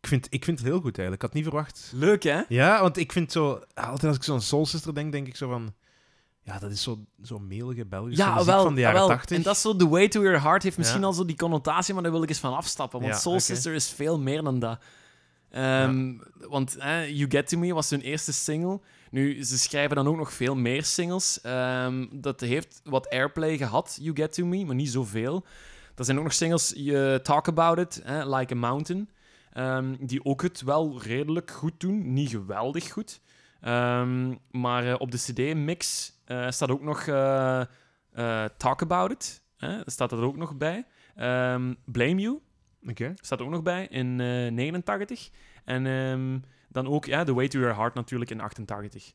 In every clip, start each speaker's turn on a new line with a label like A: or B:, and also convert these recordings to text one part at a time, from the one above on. A: vind, ik vind het heel goed eigenlijk. Ik had niet verwacht.
B: Leuk, hè?
A: Ja, want ik vind zo... Altijd als ik zo'n Soul Sister denk, denk ik zo van... Ja, dat is zo'n zo melige Belgische
B: Ja,
A: muziek
B: wel,
A: van de jaren
B: wel.
A: 80.
B: En dat is zo, The Way to Your Heart heeft misschien
A: Ja.
B: al zo die connotatie, maar daar wil ik eens van afstappen. Want
A: Ja,
B: Soul
A: oké.
B: Sister is veel meer dan dat. Ehm, Want eh, You Get To Me was hun eerste single. Nu, ze schrijven dan ook nog veel meer singles. Ehm, dat heeft wat airplay gehad, You Get To Me, maar niet zoveel. Er zijn ook nog singles, je Talk About It, eh, Like A Mountain, ehm, die ook het wel redelijk goed doen. Niet geweldig goed. Ehm, maar eh, op de CD-mix eh, staat ook nog eh, eh, Talk About It. eh, staat er ook nog bij. Ehm, Blame You
A: Oké.
B: staat er ook nog bij in eh, 89. En ehm, dan ook ja, The Way to Your Heart natuurlijk in 88.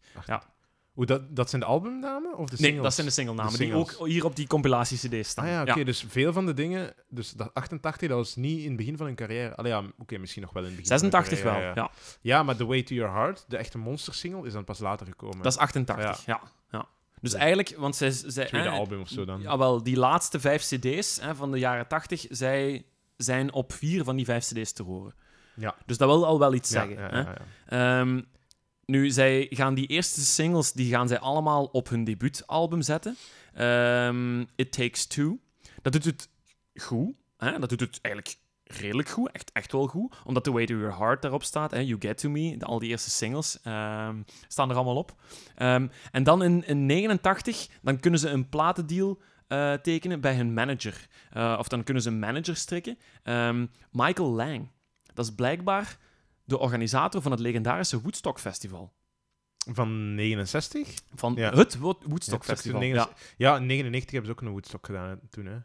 A: Oeh, dat, dat zijn de albumnamen of de singles?
B: Nee, dat zijn de singelnamen
A: De
B: die
A: singles.
B: ook hier op die compilatie-CD staan.
A: Ah ja, oké, dus veel van de dingen... Dus dat 88, dat was niet in het begin van hun carrière. Allee, ja, oké, misschien nog wel in het begin van hun
B: 86 wel,
A: carrière,
B: ja.
A: Ja. Ja, maar The Way to Your Heart, de echte monster single, is dan pas later gekomen.
B: Dat is 88, ja. ja. Dus
A: Ja.
B: eigenlijk, want zij... zij
A: tweede
B: eh,
A: album of zo dan.
B: Ja, wel, die laatste vijf cd's hè, van de jaren 80, zij zijn op vier van die vijf cd's te horen.
A: Ja.
B: Dus dat wil al wel iets
A: Ja,
B: zeggen.
A: ja,
B: hè.
A: ja, ja.
B: Ehm, nu, zij gaan die eerste singles die gaan zij allemaal op hun debuutalbum zetten. Ehm, It Takes Two. Dat doet het goed. Hè? Dat doet het eigenlijk redelijk goed. Echt, echt wel goed. Omdat The Way to Your Heart daarop staat. Hè? You Get To Me. de- al die eerste singles ehm, staan er allemaal op. Ehm, en dan in, in 89, dan kunnen ze een platendeal eh, tekenen bij hun manager. Eh, of dan kunnen ze een manager strikken. Ehm, Michael Lang. Dat is blijkbaar de organisator van het legendarische Woodstock Festival.
A: Van 69?
B: Van
A: Ja.
B: het Wo- Woodstock
A: Ja,
B: Festival.
A: toen
B: Ja.
A: 99 ja, in 99 hebben ze ook een Woodstock gedaan hè, toen, hè.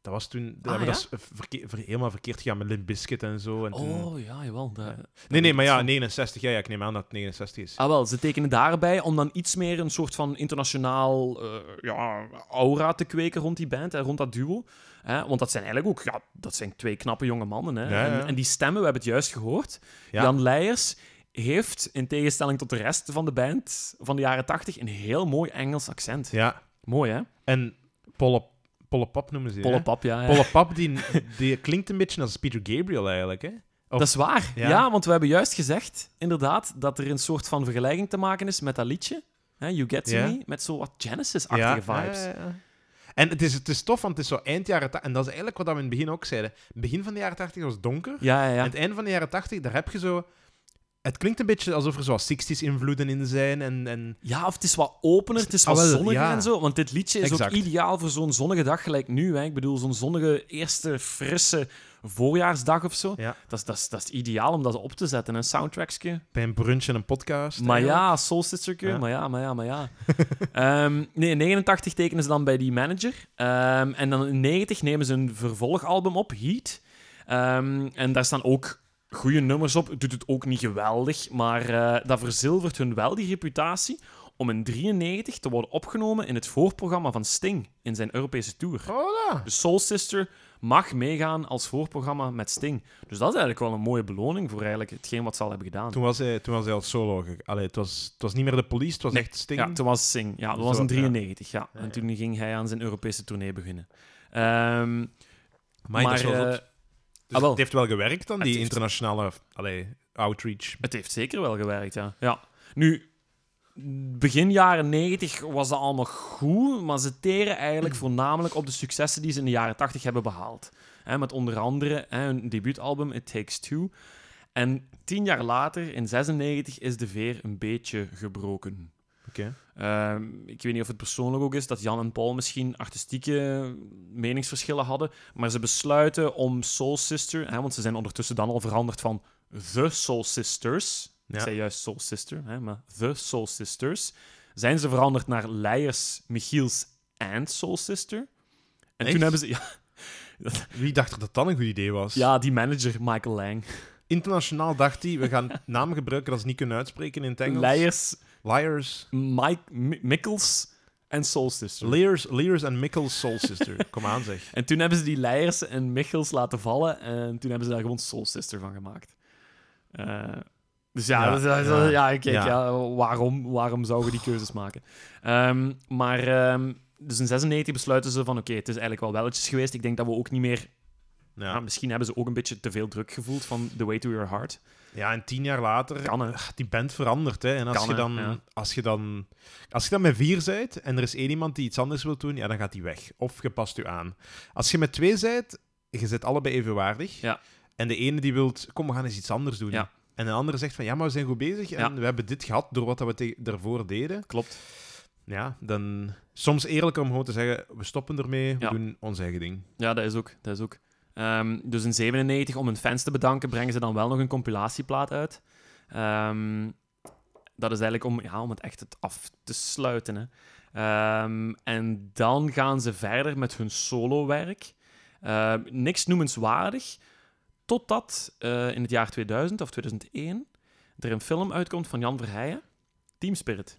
A: Dat was toen...
B: Ah,
A: dat we dat is verke- ver- helemaal verkeerd gegaan met Limp Bizkit en zo. En toen-
B: Oh ja, jawel. dat-
A: nee,
B: weet
A: nee,
B: ik
A: maar ja,
B: zo.
A: 69. Ja, ja, ik neem aan dat het 69 is.
B: Ah wel, ze tekenen daarbij om dan iets meer een soort van internationaal eh, ja, aura te kweken rond die band, hè, rond dat duo. Hè, want dat zijn eigenlijk ook ja, dat zijn twee knappe jonge mannen. Hè.
A: Ja, ja.
B: En, en die stemmen, we hebben het juist gehoord.
A: Ja.
B: Jan Leijers heeft, in tegenstelling tot de rest van de band van de jaren 80 een heel mooi Engels accent.
A: Ja.
B: Mooi, hè?
A: En Polle, Polle Pap noemen ze die,
B: Polle
A: hè?
B: pap, ja. ja.
A: Polle Pap, die, die klinkt een beetje als Peter Gabriel eigenlijk, hè. Of-
B: Dat is waar. Ja.
A: Ja.
B: want we hebben juist gezegd, inderdaad, dat er een soort van vergelijking te maken is met dat liedje. Hè, you Get To
A: Ja.
B: Me, met zo wat Genesis-achtige vibes.
A: ja, ja, ja. En het is, het is tof, want het is zo eind jaren 80. En dat is eigenlijk wat we in het begin ook zeiden. Begin van de jaren 80 was donker.
B: Ja, ja, ja.
A: En het einde van de jaren 80, daar heb je zo. Het klinkt een beetje alsof er zo 60s invloeden in zijn. En, en
B: Ja, of het is wat opener, het is wat
A: Ah, wel,
B: zonniger
A: ja.
B: en zo. Want dit liedje is
A: Exact.
B: ook ideaal voor zo'n zonnige dag gelijk nu. Hè. Ik bedoel, zo'n zonnige eerste, frisse voorjaarsdag of zo.
A: Ja.
B: Dat, is, dat, is, dat is ideaal om dat op te zetten, een soundtrackje.
A: bij een brunch en een podcast.
B: Maar
A: eigenlijk.
B: ja, Soul Sisterke,
A: Ja.
B: maar ja, maar ja, maar ja. Ehm, nee, in 89 tekenen ze dan bij die manager. Ehm, en dan in 90 nemen ze een vervolgalbum op, Heat. Ehm, en daar staan ook goede nummers op. Het Doet het ook niet geweldig, maar eh, dat verzilvert hun wel die reputatie om in 93 te worden opgenomen in het voorprogramma van Sting in zijn Europese tour.
A: Voilà.
B: De Soul Sister mag meegaan als voorprogramma met Sting. Dus dat is eigenlijk wel een mooie beloning voor eigenlijk hetgeen wat ze al hebben gedaan.
A: Toen was hij, toen was hij al solo. ge- Allee, het, was, het was niet meer de police, het was
B: Nee,
A: echt Sting.
B: Ja, toen was Sing. Ja, dat was
A: Zo,
B: in
A: ja.
B: 93. Ja.
A: Ja,
B: En
A: ja.
B: toen ging hij aan zijn Europese tournee beginnen. Ehm,
A: maar dat is wel
B: eh,
A: goed. Dus
B: ah, wel.
A: Het heeft wel gewerkt dan,
B: Het
A: die
B: heeft-
A: internationale allee, outreach.
B: het heeft zeker wel gewerkt, ja. ja. Nu, begin jaren 90 was dat allemaal goed, maar ze teren eigenlijk voornamelijk op de successen die ze in de jaren 80 hebben behaald. Hè, met onder andere hè, hun debuutalbum It Takes Two. En tien jaar later, in 96, is de veer een beetje gebroken.
A: Oké.
B: Ehm, ik weet niet of het persoonlijk ook is dat Jan en Paul misschien artistieke meningsverschillen hadden, maar ze besluiten om Soul Sister, hè, want ze zijn ondertussen dan al veranderd van The Soul Sisters.
A: Ja.
B: Ik zei juist Soul Sister, hè, maar The Soul Sisters. Zijn ze veranderd naar Leijers, Michiels en Soul Sister. En
A: Echt?
B: toen hebben ze... Ja,
A: Wie dacht er dat dat een goed idee was?
B: ja, die manager, Michael Lang.
A: Internationaal dacht hij, we gaan namen gebruiken dat ze niet kunnen uitspreken in het Engels.
B: Leijers,
A: Liars.
B: Mike, Mi- Mikkels en Soul Sister.
A: Lears, Lears en Mikkels Soul Sister. Kom aan, zeg.
B: En toen hebben ze die Leijers en Michels laten vallen. En toen hebben ze daar gewoon Soul Sister van gemaakt. Eh, dus ja,
A: Ja,
B: dat is- dat is- ja,
A: ja,
B: kijk, ja.
A: ja.
B: waarom, waarom zouden we die keuzes maken? Ehm, maar ehm, dus in 96 besluiten ze van... Oké, het is eigenlijk wel welletjes geweest. Ik denk dat we ook niet meer Ja,
A: Ja.
B: misschien hebben ze ook een beetje te veel druk gevoeld van The Way to Your Heart.
A: ja, en tien jaar later,
B: Kan hè.
A: die band verandert. Hè. En als,
B: Kan,
A: je
B: hè,
A: dan,
B: ja.
A: als, je dan, als je dan met vier bent en er is één iemand die iets anders wil doen, ja, dan gaat die weg. Of je past u aan. Als je met twee bent, je zit allebei evenwaardig.
B: Ja.
A: En de ene die wilt, kom, we gaan eens iets anders doen.
B: Ja.
A: En de andere zegt van, ja, maar we zijn goed bezig en
B: Ja.
A: we hebben dit gehad door wat dat we te- daarvoor deden.
B: Klopt.
A: Ja, dan soms eerlijker om gewoon te zeggen, we stoppen ermee, we
B: Ja.
A: doen ons eigen ding.
B: Ja, dat is ook. Dat is ook. Ehm, dus in 97, om hun fans te bedanken, brengen ze dan wel nog een compilatieplaat uit. Ehm, dat is eigenlijk om, ja, om het echt het af te sluiten. Hè. Ehm, en dan gaan ze verder met hun solowerk. Ehm, niks noemenswaardig. Totdat eh, in het jaar 2000 of 2001 er een film uitkomt van Jan Verheyen. Team Spirit.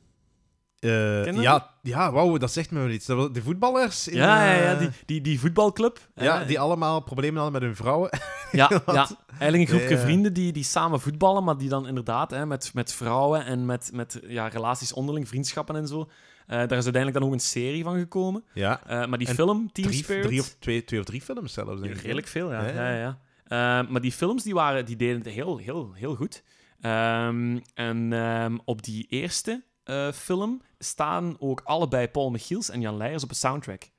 A: Eh,
B: Ken je
A: ja, ja, wauw, dat zegt me wel iets. Dat was- De voetballers in,
B: Ja, ja, ja
A: eh,
B: die, die, die voetbalclub.
A: ja,
B: eh,
A: die allemaal problemen hadden met hun vrouwen.
B: Ja, ja, eigenlijk een groepje
A: Ja, ja.
B: vrienden die, die samen voetballen, maar die dan inderdaad hè, met, met vrouwen en met, met ja, relaties onderling, vriendschappen en zo. Eh, daar is uiteindelijk dan ook een serie van gekomen.
A: ja,
B: Eh, maar die
A: En
B: film, Team
A: drie,
B: Spirit...
A: drie of twee, twee of drie films zelfs. Denk ik.
B: Redelijk veel, ja.
A: Ja,
B: ja.
A: ja.
B: ja, Eh, maar die films die waren, die deden het heel, heel, heel goed. Ehm, en ehm, op die eerste eh, film staan ook allebei Paul Michiels en Jan Leijers op een soundtrack.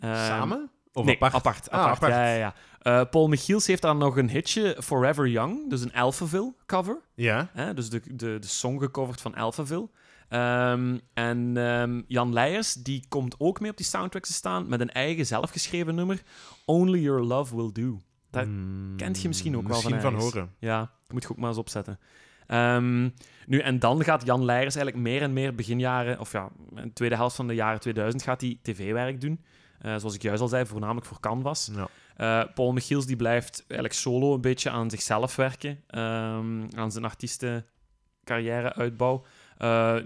B: Ehm,
A: Samen? Of
B: nee,
A: apart?
B: apart.
A: Ah,
B: apart,
A: apart.
B: Ja, ja, ja. Eh, Paul Michiels heeft daar nog een hitje, Forever Young, dus een Alphaville cover.
A: Ja.
B: Hè? Dus de, de, de song gecoverd van Alphaville. Ehm, en ehm, Jan Leijers die komt ook mee op die soundtrack te staan met een eigen zelfgeschreven nummer, Only Your Love Will Do. Dat
A: Hmm,
B: kent je misschien ook wel van
A: Misschien van
B: ergens.
A: horen.
B: Ja, moet je ook maar eens opzetten. Ehm, nu, en dan gaat Jan Leijers eigenlijk meer en meer beginjaren, of ja, in de tweede helft van de jaren 2000 gaat hij tv-werk doen. Eh, zoals ik juist al zei, voornamelijk voor Canvas.
A: Ja.
B: Eh, Paul Michiels die blijft eigenlijk solo een beetje aan zichzelf werken, ehm, aan zijn artiestencarrière uitbouw. Eh,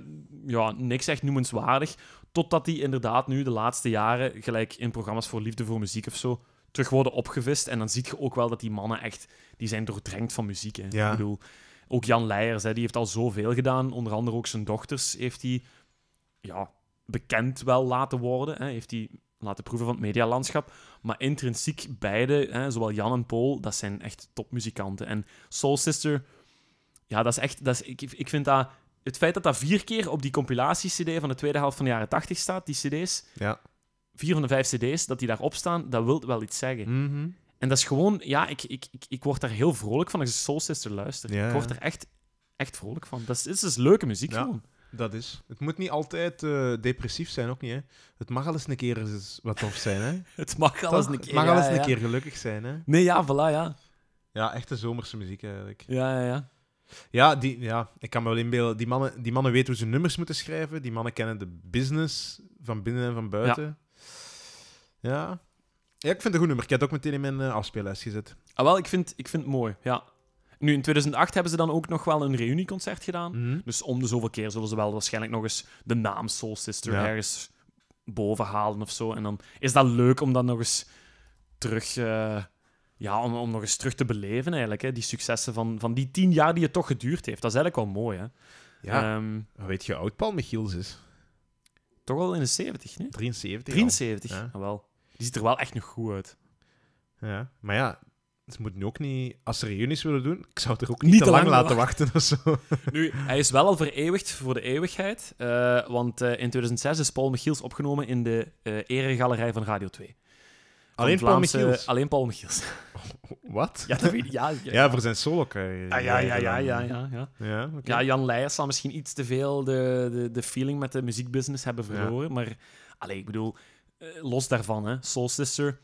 B: ja, niks echt noemenswaardig. Totdat hij inderdaad nu de laatste jaren, gelijk in programma's voor Liefde voor Muziek of zo, terug worden opgevist. En dan zie je ook wel dat die mannen echt, die zijn doordrenkt van muziek. Hè.
A: Ja.
B: Ik bedoel, ook Jan Leijers, hè, die heeft al zoveel gedaan. Onder andere ook zijn dochters heeft hij ja, bekend wel laten worden. Hè. Heeft hij laten proeven van het medialandschap. Maar intrinsiek beide, hè, zowel Jan en Paul, dat zijn echt topmuzikanten. En Soul Sister, ja, dat is echt... Dat is, ik, ik vind dat... Het feit dat dat vier keer op die compilatie-cd van de tweede helft van de jaren 80 staat, die cd's,
A: Ja.
B: vier van de vijf cd's, dat die daarop staan, dat wil wel iets zeggen.
A: Mhm.
B: En dat is gewoon... Ja, ik, ik, ik, ik word daar heel vrolijk van als ik Soul Sister luister.
A: Ja,
B: ik word
A: ja.
B: er echt, echt vrolijk van. Dat is, het is dus leuke muziek
A: Ja.
B: gewoon.
A: Dat is. Het moet niet altijd eh, depressief zijn, ook niet. Hè? Het mag al eens een keer eens wat tof zijn. Hè?
B: Het mag alles
A: Toch?
B: een keer.
A: Het mag al
B: ja,
A: eens een
B: ja.
A: keer gelukkig zijn. Hè?
B: Nee, ja, voilà, ja.
A: Ja, echte zomerse muziek eigenlijk.
B: Ja, ja, ja.
A: Ja, die, ja ik kan me wel inbeelden. Die mannen, die mannen weten hoe ze nummers moeten schrijven. Die mannen kennen de business van binnen en van buiten. Ja. Ja, ik vind het een goed nummer. Ik heb het ook meteen in mijn eh, afspeellijst gezet.
B: Ah, wel, ik vind, ik vind het mooi, ja. Nu, in 2008 hebben ze dan ook nog wel een reunieconcert gedaan.
A: Mhm.
B: Dus om de zoveel keer zullen ze wel waarschijnlijk nog eens de naam Soul Sister
A: Ja.
B: ergens boven halen of zo. En dan is dat leuk om dat nog eens terug... eh, ja, om, om nog eens terug te beleven eigenlijk, hè. Die successen van, van die tien jaar die het toch geduurd heeft. Dat is eigenlijk wel mooi, hè.
A: Ja,
B: Ehm,
A: weet je hoe oud Paul Michiels is?
B: toch al in de 70, nee?
A: 73. al.
B: 73,
A: Ja.
B: ah, wel. Die ziet er wel echt nog goed uit.
A: Ja, maar ja, ze moeten ook niet... Als ze reunies willen doen, ik zou het er ook niet,
B: Niet
A: te,
B: te
A: lang,
B: lang
A: laten wachten of zo.
B: Nu, hij is wel al vereeuwigd voor de eeuwigheid. eh, want eh, in 2006 is Paul Michiels opgenomen in de eh eregalerij van Radio 2. Van
A: Alleen Paul
B: Vlaamse-
A: Michiels?
B: Alleen Paul Michiels.
A: Wat?
B: Ja, dat weet ik. Ja,
A: Ja,
B: ja,
A: voor zijn solo carrière
B: Ah, ja, ja, ja, ja, ja, ja.
A: Ja, oké.
B: Ja, Jan Leijers zal misschien iets te veel de, de, de feeling met de muziekbusiness hebben verloren. Maar, allee, ik bedoel, eh, los daarvan, hè. Soul Sister,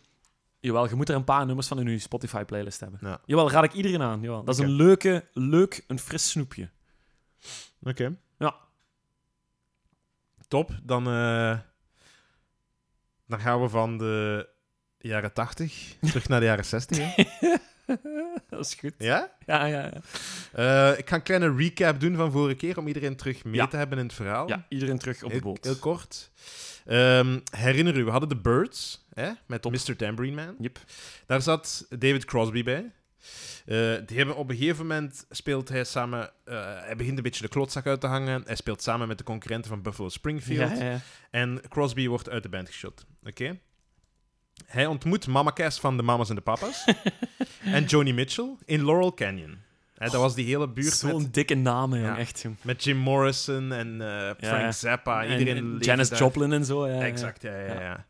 B: jawel, je moet er een paar nummers van in je Spotify-playlist hebben.
A: Ja.
B: Jawel, raad ik iedereen aan. Jawel. Dat is
A: Oké.
B: een leuke, leuk, een fris snoepje.
A: Oké.
B: Ja.
A: Top. Dan, eh, dan gaan we van de jaren 80 terug naar de jaren 60. hè?
B: Dat is goed.
A: ja?
B: Ja, ja, ja.
A: Eh, ik ga een kleine recap doen van vorige keer om iedereen terug mee
B: Ja.
A: te hebben in het verhaal.
B: Ja, iedereen terug op de
A: heel,
B: boot.
A: heel kort. Ehm, herinner u, we hadden de Birds hè, met
B: Top.
A: Mr. Tambourine Man.
B: Yep.
A: Daar zat David Crosby bij. Eh, die hebben op een gegeven moment speelt hij samen. eh, hij begint een beetje de klootzak uit te hangen. Hij speelt samen met de concurrenten van Buffalo Springfield.
B: Ja, ja, ja.
A: En Crosby wordt uit de band geschot. Oké? Hij ontmoet Mama Cass van de Mamas en de Papas. en Joni Mitchell in Laurel Canyon. Hè, dat was die hele buurt
B: Zo'n
A: met,
B: dikke naam, jong.
A: Ja.
B: Echt, jong.
A: met Jim Morrison en eh, Frank
B: ja.
A: Zappa.
B: En-
A: Iedereen
B: en
A: leefde
B: Janis
A: daar.
B: Joplin en zo. Ja, ja.
A: Exact, ja, ja,
B: Eh, Ja.
A: ja.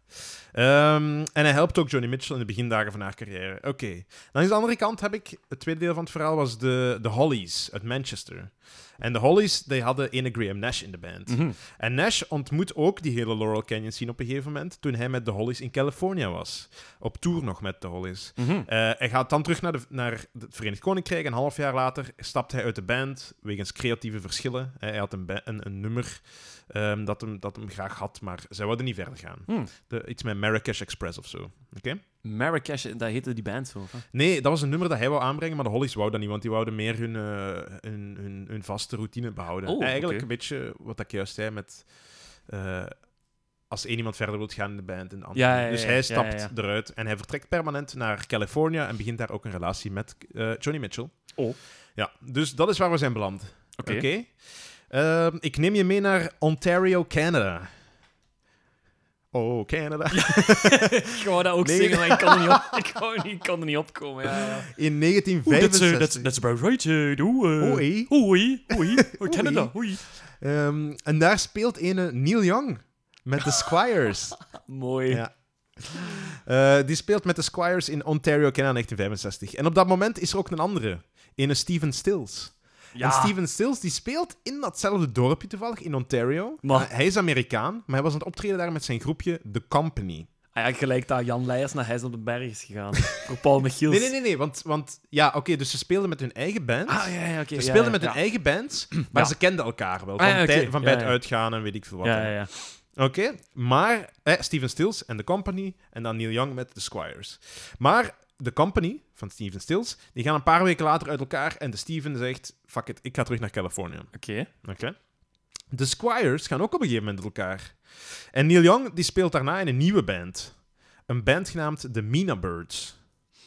A: Ehm, en hij helpt ook Johnny Mitchell in de begindagen van haar carrière. Oké. Dan is de andere kant heb ik... Het tweede deel van het verhaal was de, de Hollies uit Manchester. En de Hollies, die hadden ene Graham Nash in de band.
B: Mhm.
A: En Nash ontmoet ook die hele Laurel Canyon scene op een gegeven moment... toen hij met de Hollies in Californië was. Op tour nog met de Hollies.
B: Mhm.
A: Eh, hij gaat dan terug naar, de, naar het Verenigd Koninkrijk. en Een half jaar later stapt hij uit de band wegens creatieve verschillen. Eh, hij had een, ba- een, een nummer ehm, dat, hem, dat hem graag had, maar zij wilden niet verder gaan.
B: Hmm.
A: De, iets met Marrakesh Express of zo. Oké?
B: Marrakesh, dat heette die band zo. of wat?
A: Nee, dat was een nummer dat hij wou aanbrengen, maar de Hollies wou dat niet, want die wouden meer hun, eh, hun, hun, hun vaste routine behouden.
B: Oh,
A: Eigenlijk
B: oké.
A: een beetje wat ik juist zei met... eh, als één iemand verder wilt gaan in de band en de ander.
B: Ja, ja, ja,
A: dus
B: ja,
A: hij stapt
B: ja,
A: eruit en hij vertrekt permanent naar Californië en begint daar ook een relatie met eh, Johnny Mitchell.
B: Oh.
A: Ja, dus dat is waar we zijn beland.
B: Oké.
A: Oké. Ehm, ik neem je mee naar Ontario, Canada. Oh, Canada.
B: Ik wou dat ook
A: Nee.
B: zingen, maar ik kon er niet, op, ik wou niet, ik kon er niet opkomen. Ja, ja.
A: In
B: Oeh, that's, uh,
A: 1965.
B: that's, that's about right, uh, doe, eh.
A: Oei.
B: Oei, oei. Oei, Canada, oei.
A: Ehm, en daar speelt ene Neil Young met de Squires.
B: Mooi.
A: Ja. Eh, die speelt met de Squires in Ontario, Canada 1965. En op dat moment is er ook een andere, ene Steven Stills.
B: Ja.
A: En Steven Stills die speelt in datzelfde dorpje toevallig, in Ontario.
B: Maar-
A: Eh, hij is Amerikaan, maar hij was aan het optreden daar met zijn groepje The Company.
B: Ah, ja, gelijk dat Jan Leijers naar Heijs op de Berg is gegaan. voor Paul Michiels.
A: Nee, nee, nee, nee want, want ja, oké, dus ze speelden met hun eigen band.
B: Ah, ja, ja, oké.
A: Ze
B: ja,
A: speelden
B: ja,
A: met
B: ja.
A: hun eigen band, maar
B: Ja.
A: ze kenden elkaar wel.
B: Ah,
A: Van,
B: ja, oké.
A: tij- van bij
B: Ja,
A: het
B: ja.
A: uitgaan en weet ik veel wat.
B: Ja, ja, ja.
A: Oké, maar eh, Steven Stills en The Company en dan Neil Young met The Squires. Maar The Company van Steven Stills, die gaan een paar weken later uit elkaar en de Steven zegt, fuck it, ik ga terug naar Californië.
B: Oké.
A: Oké. De Squires gaan ook op een gegeven moment uit elkaar. En Neil Young die speelt daarna in een nieuwe band. Een band genaamd de Mina Birds.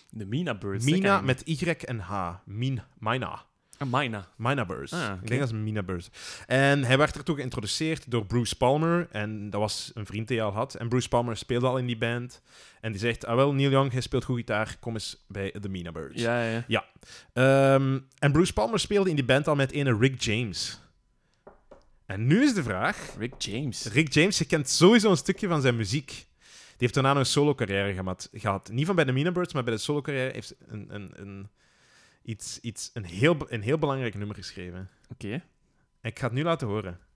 B: De Mina Birds. dat ken
A: Mina
B: ik
A: met Y en H. Min, Mina.
B: niet. Ah, Mina.
A: Mina Burst.
B: Ah, oké.
A: Ik denk dat is Mina Burst. En hij werd ertoe geïntroduceerd door Bruce Palmer. En dat was een vriend die hij al had. En Bruce Palmer speelde al in die band. En die zegt, ah wel, Neil Young, hij speelt goed gitaar. Kom eens bij de Mina Birds.
B: Ja, ja.
A: Ehm, en Bruce Palmer speelde in die band al met ene Rick James. En nu is de vraag...
B: Rick James.
A: Rick James, je kent sowieso een stukje van zijn muziek. Die heeft daarna een solo-carrière gemat- gehad. Niet van bij de Mina Birds, maar bij de solo-carrière heeft ze een, een, een, iets, iets, een, heel, be- een heel belangrijk nummer geschreven.
B: Oké.
A: Ik ga het nu laten horen.